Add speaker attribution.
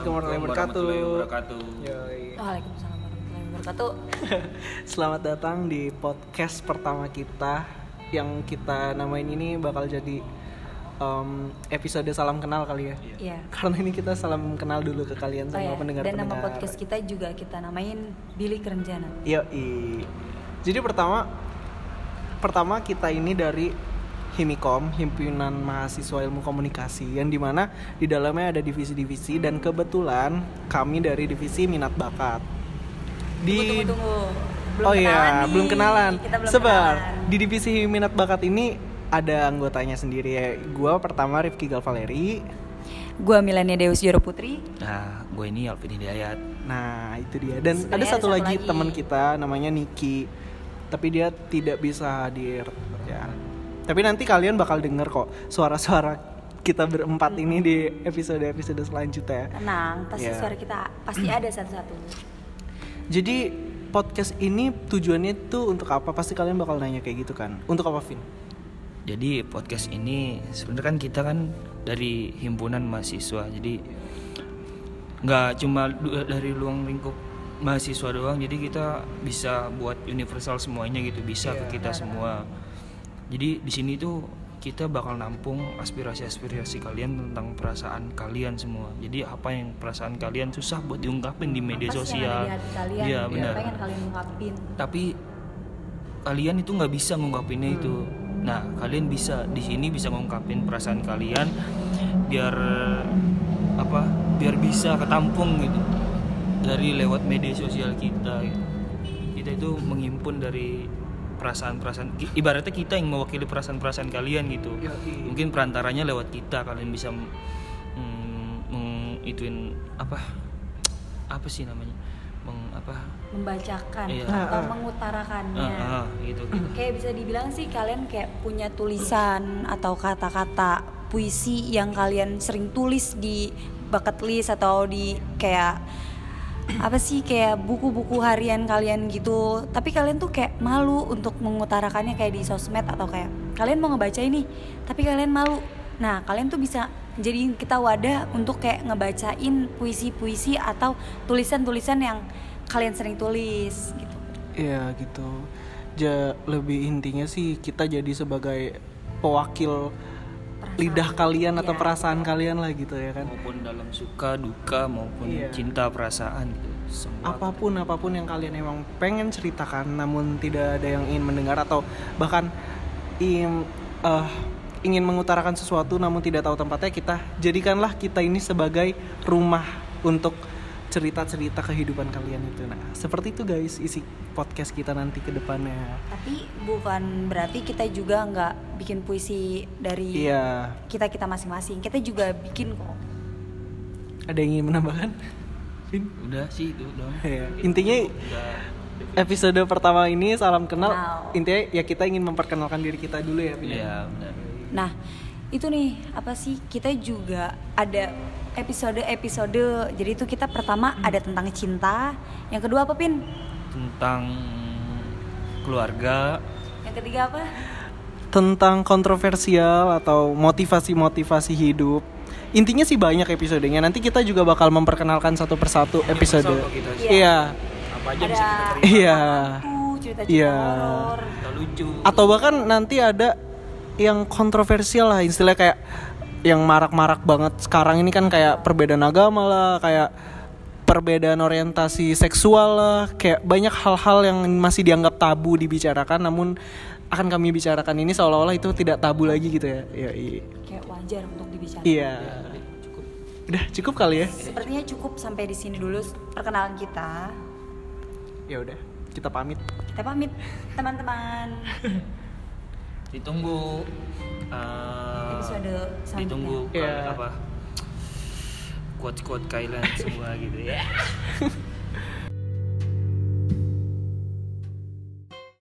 Speaker 1: warahmatullahi wabarakatuh.
Speaker 2: warahmatullahi wabarakatuh.
Speaker 1: Yoi.
Speaker 3: Waalaikumsalam warahmatullahi wabarakatuh.
Speaker 1: Selamat datang di podcast pertama kita yang kita namain ini bakal jadi em, episode salam kenal kali ya.
Speaker 3: Iya.
Speaker 1: Karena ini kita salam kenal dulu ke kalian
Speaker 3: Oh
Speaker 1: sama
Speaker 3: ya,
Speaker 1: pendengar
Speaker 3: Dan nama podcast kita juga kita namain Billy Kerenjana.
Speaker 1: Yoi. Jadi pertama pertama kita ini dari Himikom, Himpunan Mahasiswa Ilmu Komunikasi yang dimana di dalamnya ada divisi-divisi dan kebetulan kami dari divisi minat bakat. Di
Speaker 3: Tunggu-tunggu.
Speaker 1: oh iya,
Speaker 3: nih.
Speaker 1: belum kenalan.
Speaker 3: Kita belum
Speaker 1: Sebar.
Speaker 3: kenalan.
Speaker 1: Di divisi minat bakat ini ada anggotanya sendiri ya. Gua pertama Rifki Galvaleri.
Speaker 3: Gua Milania Deus Yoro Putri.
Speaker 2: Nah, gue ini Alvin Hidayat.
Speaker 1: Nah, itu dia. Dan
Speaker 3: Sebenarnya
Speaker 1: ada
Speaker 3: ada
Speaker 1: satu
Speaker 3: satu
Speaker 1: lagi
Speaker 3: lagi.
Speaker 1: teman kita namanya Niki. Tapi dia tidak bisa hadir ya. Tapi nanti kalian bakal denger kok suara-suara kita berempat ini di episode-episode selanjutnya.
Speaker 3: Tenang, pasti
Speaker 1: Iya.
Speaker 3: suara kita pasti ada satu-satu.
Speaker 1: Jadi podcast ini tujuannya tuh untuk apa? Pasti kalian bakal nanya kayak gitu kan. Untuk apa, Vin?
Speaker 2: Jadi podcast ini sebenarnya kan kita kan dari himpunan mahasiswa. Jadi nggak cuma du- dari luang lingkup mahasiswa doang. Jadi kita bisa buat universal semuanya gitu, bisa
Speaker 3: Iya.
Speaker 2: ke kita semua. Jadi di sini tuh kita bakal nampung aspirasi-aspirasi kalian tentang perasaan kalian semua. Jadi apa yang perasaan kalian susah buat diungkapin di media
Speaker 3: Apa sih yang
Speaker 2: sosial.
Speaker 3: ada di hati kalian?
Speaker 2: Iya,
Speaker 3: yang
Speaker 2: benar
Speaker 3: Pengen kalian ngungkapin.
Speaker 2: tapi kalian itu nggak bisa ngungkapinnya itu nah kalian bisa di sini bisa ngungkapin perasaan kalian biar apa biar bisa ketampung gitu dari lewat media sosial kita gitu. kita itu menghimpun dari perasaan-perasaan i- ibaratnya kita yang mewakili perasaan-perasaan kalian gitu
Speaker 1: Yoi.
Speaker 2: mungkin perantaranya lewat kita kalian bisa mm, mengituin apa apa sih namanya meng apa
Speaker 3: membacakan
Speaker 2: Iya.
Speaker 3: atau
Speaker 1: Ah, ah.
Speaker 3: mengutarakannya.
Speaker 2: Ah, ah, gitu gitu.
Speaker 3: Kayak bisa dibilang sih kalian kayak punya tulisan atau kata-kata puisi yang kalian sering tulis di bucket list atau di kayak apa sih kayak buku-buku harian kalian gitu. Tapi kalian tuh kayak malu untuk mengutarakannya kayak di sosmed atau kayak kalian mau ngebaca ini tapi kalian malu. Nah, kalian tuh bisa jadi kita wadah untuk kayak ngebacain puisi-puisi atau tulisan-tulisan yang kalian sering tulis gitu.
Speaker 1: Iya gitu. Ja, lebih intinya sih kita jadi sebagai pewakil lidah kalian atau
Speaker 3: Iya.
Speaker 1: perasaan kalian lah gitu ya kan.
Speaker 2: Maupun dalam suka, duka, maupun
Speaker 1: Iya. Ah.
Speaker 2: cinta, perasaan gitu. Semua.
Speaker 1: apapun apapun yang kalian emang pengen ceritakan namun tidak ada yang ingin mendengar atau bahkan im- eh, ingin mengutarakan sesuatu namun tidak tahu tempatnya kita jadikanlah kita ini sebagai rumah untuk cerita-cerita kehidupan kalian itu nah seperti itu guys isi podcast kita nanti ke depannya
Speaker 3: Tapi bukan berarti kita juga nggak bikin puisi dari
Speaker 1: iya
Speaker 3: kita kita masing-masing. Kita juga bikin kok.
Speaker 1: ada yang ingin menambahkan Vin?
Speaker 2: Udah sih itu dong.
Speaker 1: Iya. intinya
Speaker 2: Udah.
Speaker 1: episode pertama ini salam kenal
Speaker 3: Kenal.
Speaker 1: intinya ya kita ingin memperkenalkan diri kita dulu ya Vin, ya?
Speaker 2: Iya, benar.
Speaker 3: Nah, itu nih apa sih? Kita juga ada episode-episode. Jadi itu kita pertama ada tentang cinta, yang kedua apa pin?
Speaker 2: Tentang keluarga,
Speaker 3: Yang ketiga apa?
Speaker 1: tentang kontroversial atau motivasi-motivasi hidup. Intinya sih banyak episodenya. Nanti kita juga bakal memperkenalkan satu persatu episode.
Speaker 2: Universal kok kita sih.
Speaker 1: Iya.
Speaker 2: apa aja
Speaker 3: Ada
Speaker 2: bisa kita terima.
Speaker 1: Iya.
Speaker 3: hantu, cerita-cerita
Speaker 1: Iya.
Speaker 3: horor.
Speaker 2: Kita lucu.
Speaker 1: Atau bahkan nanti ada yang kontroversial lah istilahnya kayak yang marak-marak banget sekarang ini kan kayak perbedaan agama lah, kayak perbedaan orientasi seksual lah, kayak banyak hal-hal yang masih dianggap tabu dibicarakan namun akan kami bicarakan ini seolah-olah itu tidak tabu lagi gitu ya. Iya. Iya.
Speaker 3: Kayak wajar untuk dibicarakan.
Speaker 1: Iya. Udah cukup kali ya?
Speaker 3: Sepertinya cukup sampai di sini dulu perkenalan kita.
Speaker 1: Ya udah, kita pamit.
Speaker 3: Kita pamit teman-teman.
Speaker 1: Eh,
Speaker 2: Ditunggu eh,
Speaker 3: Episode selanjutnya.
Speaker 2: ditunggu
Speaker 1: Iya.
Speaker 2: apa? Quote-quote kalian semua gitu ya.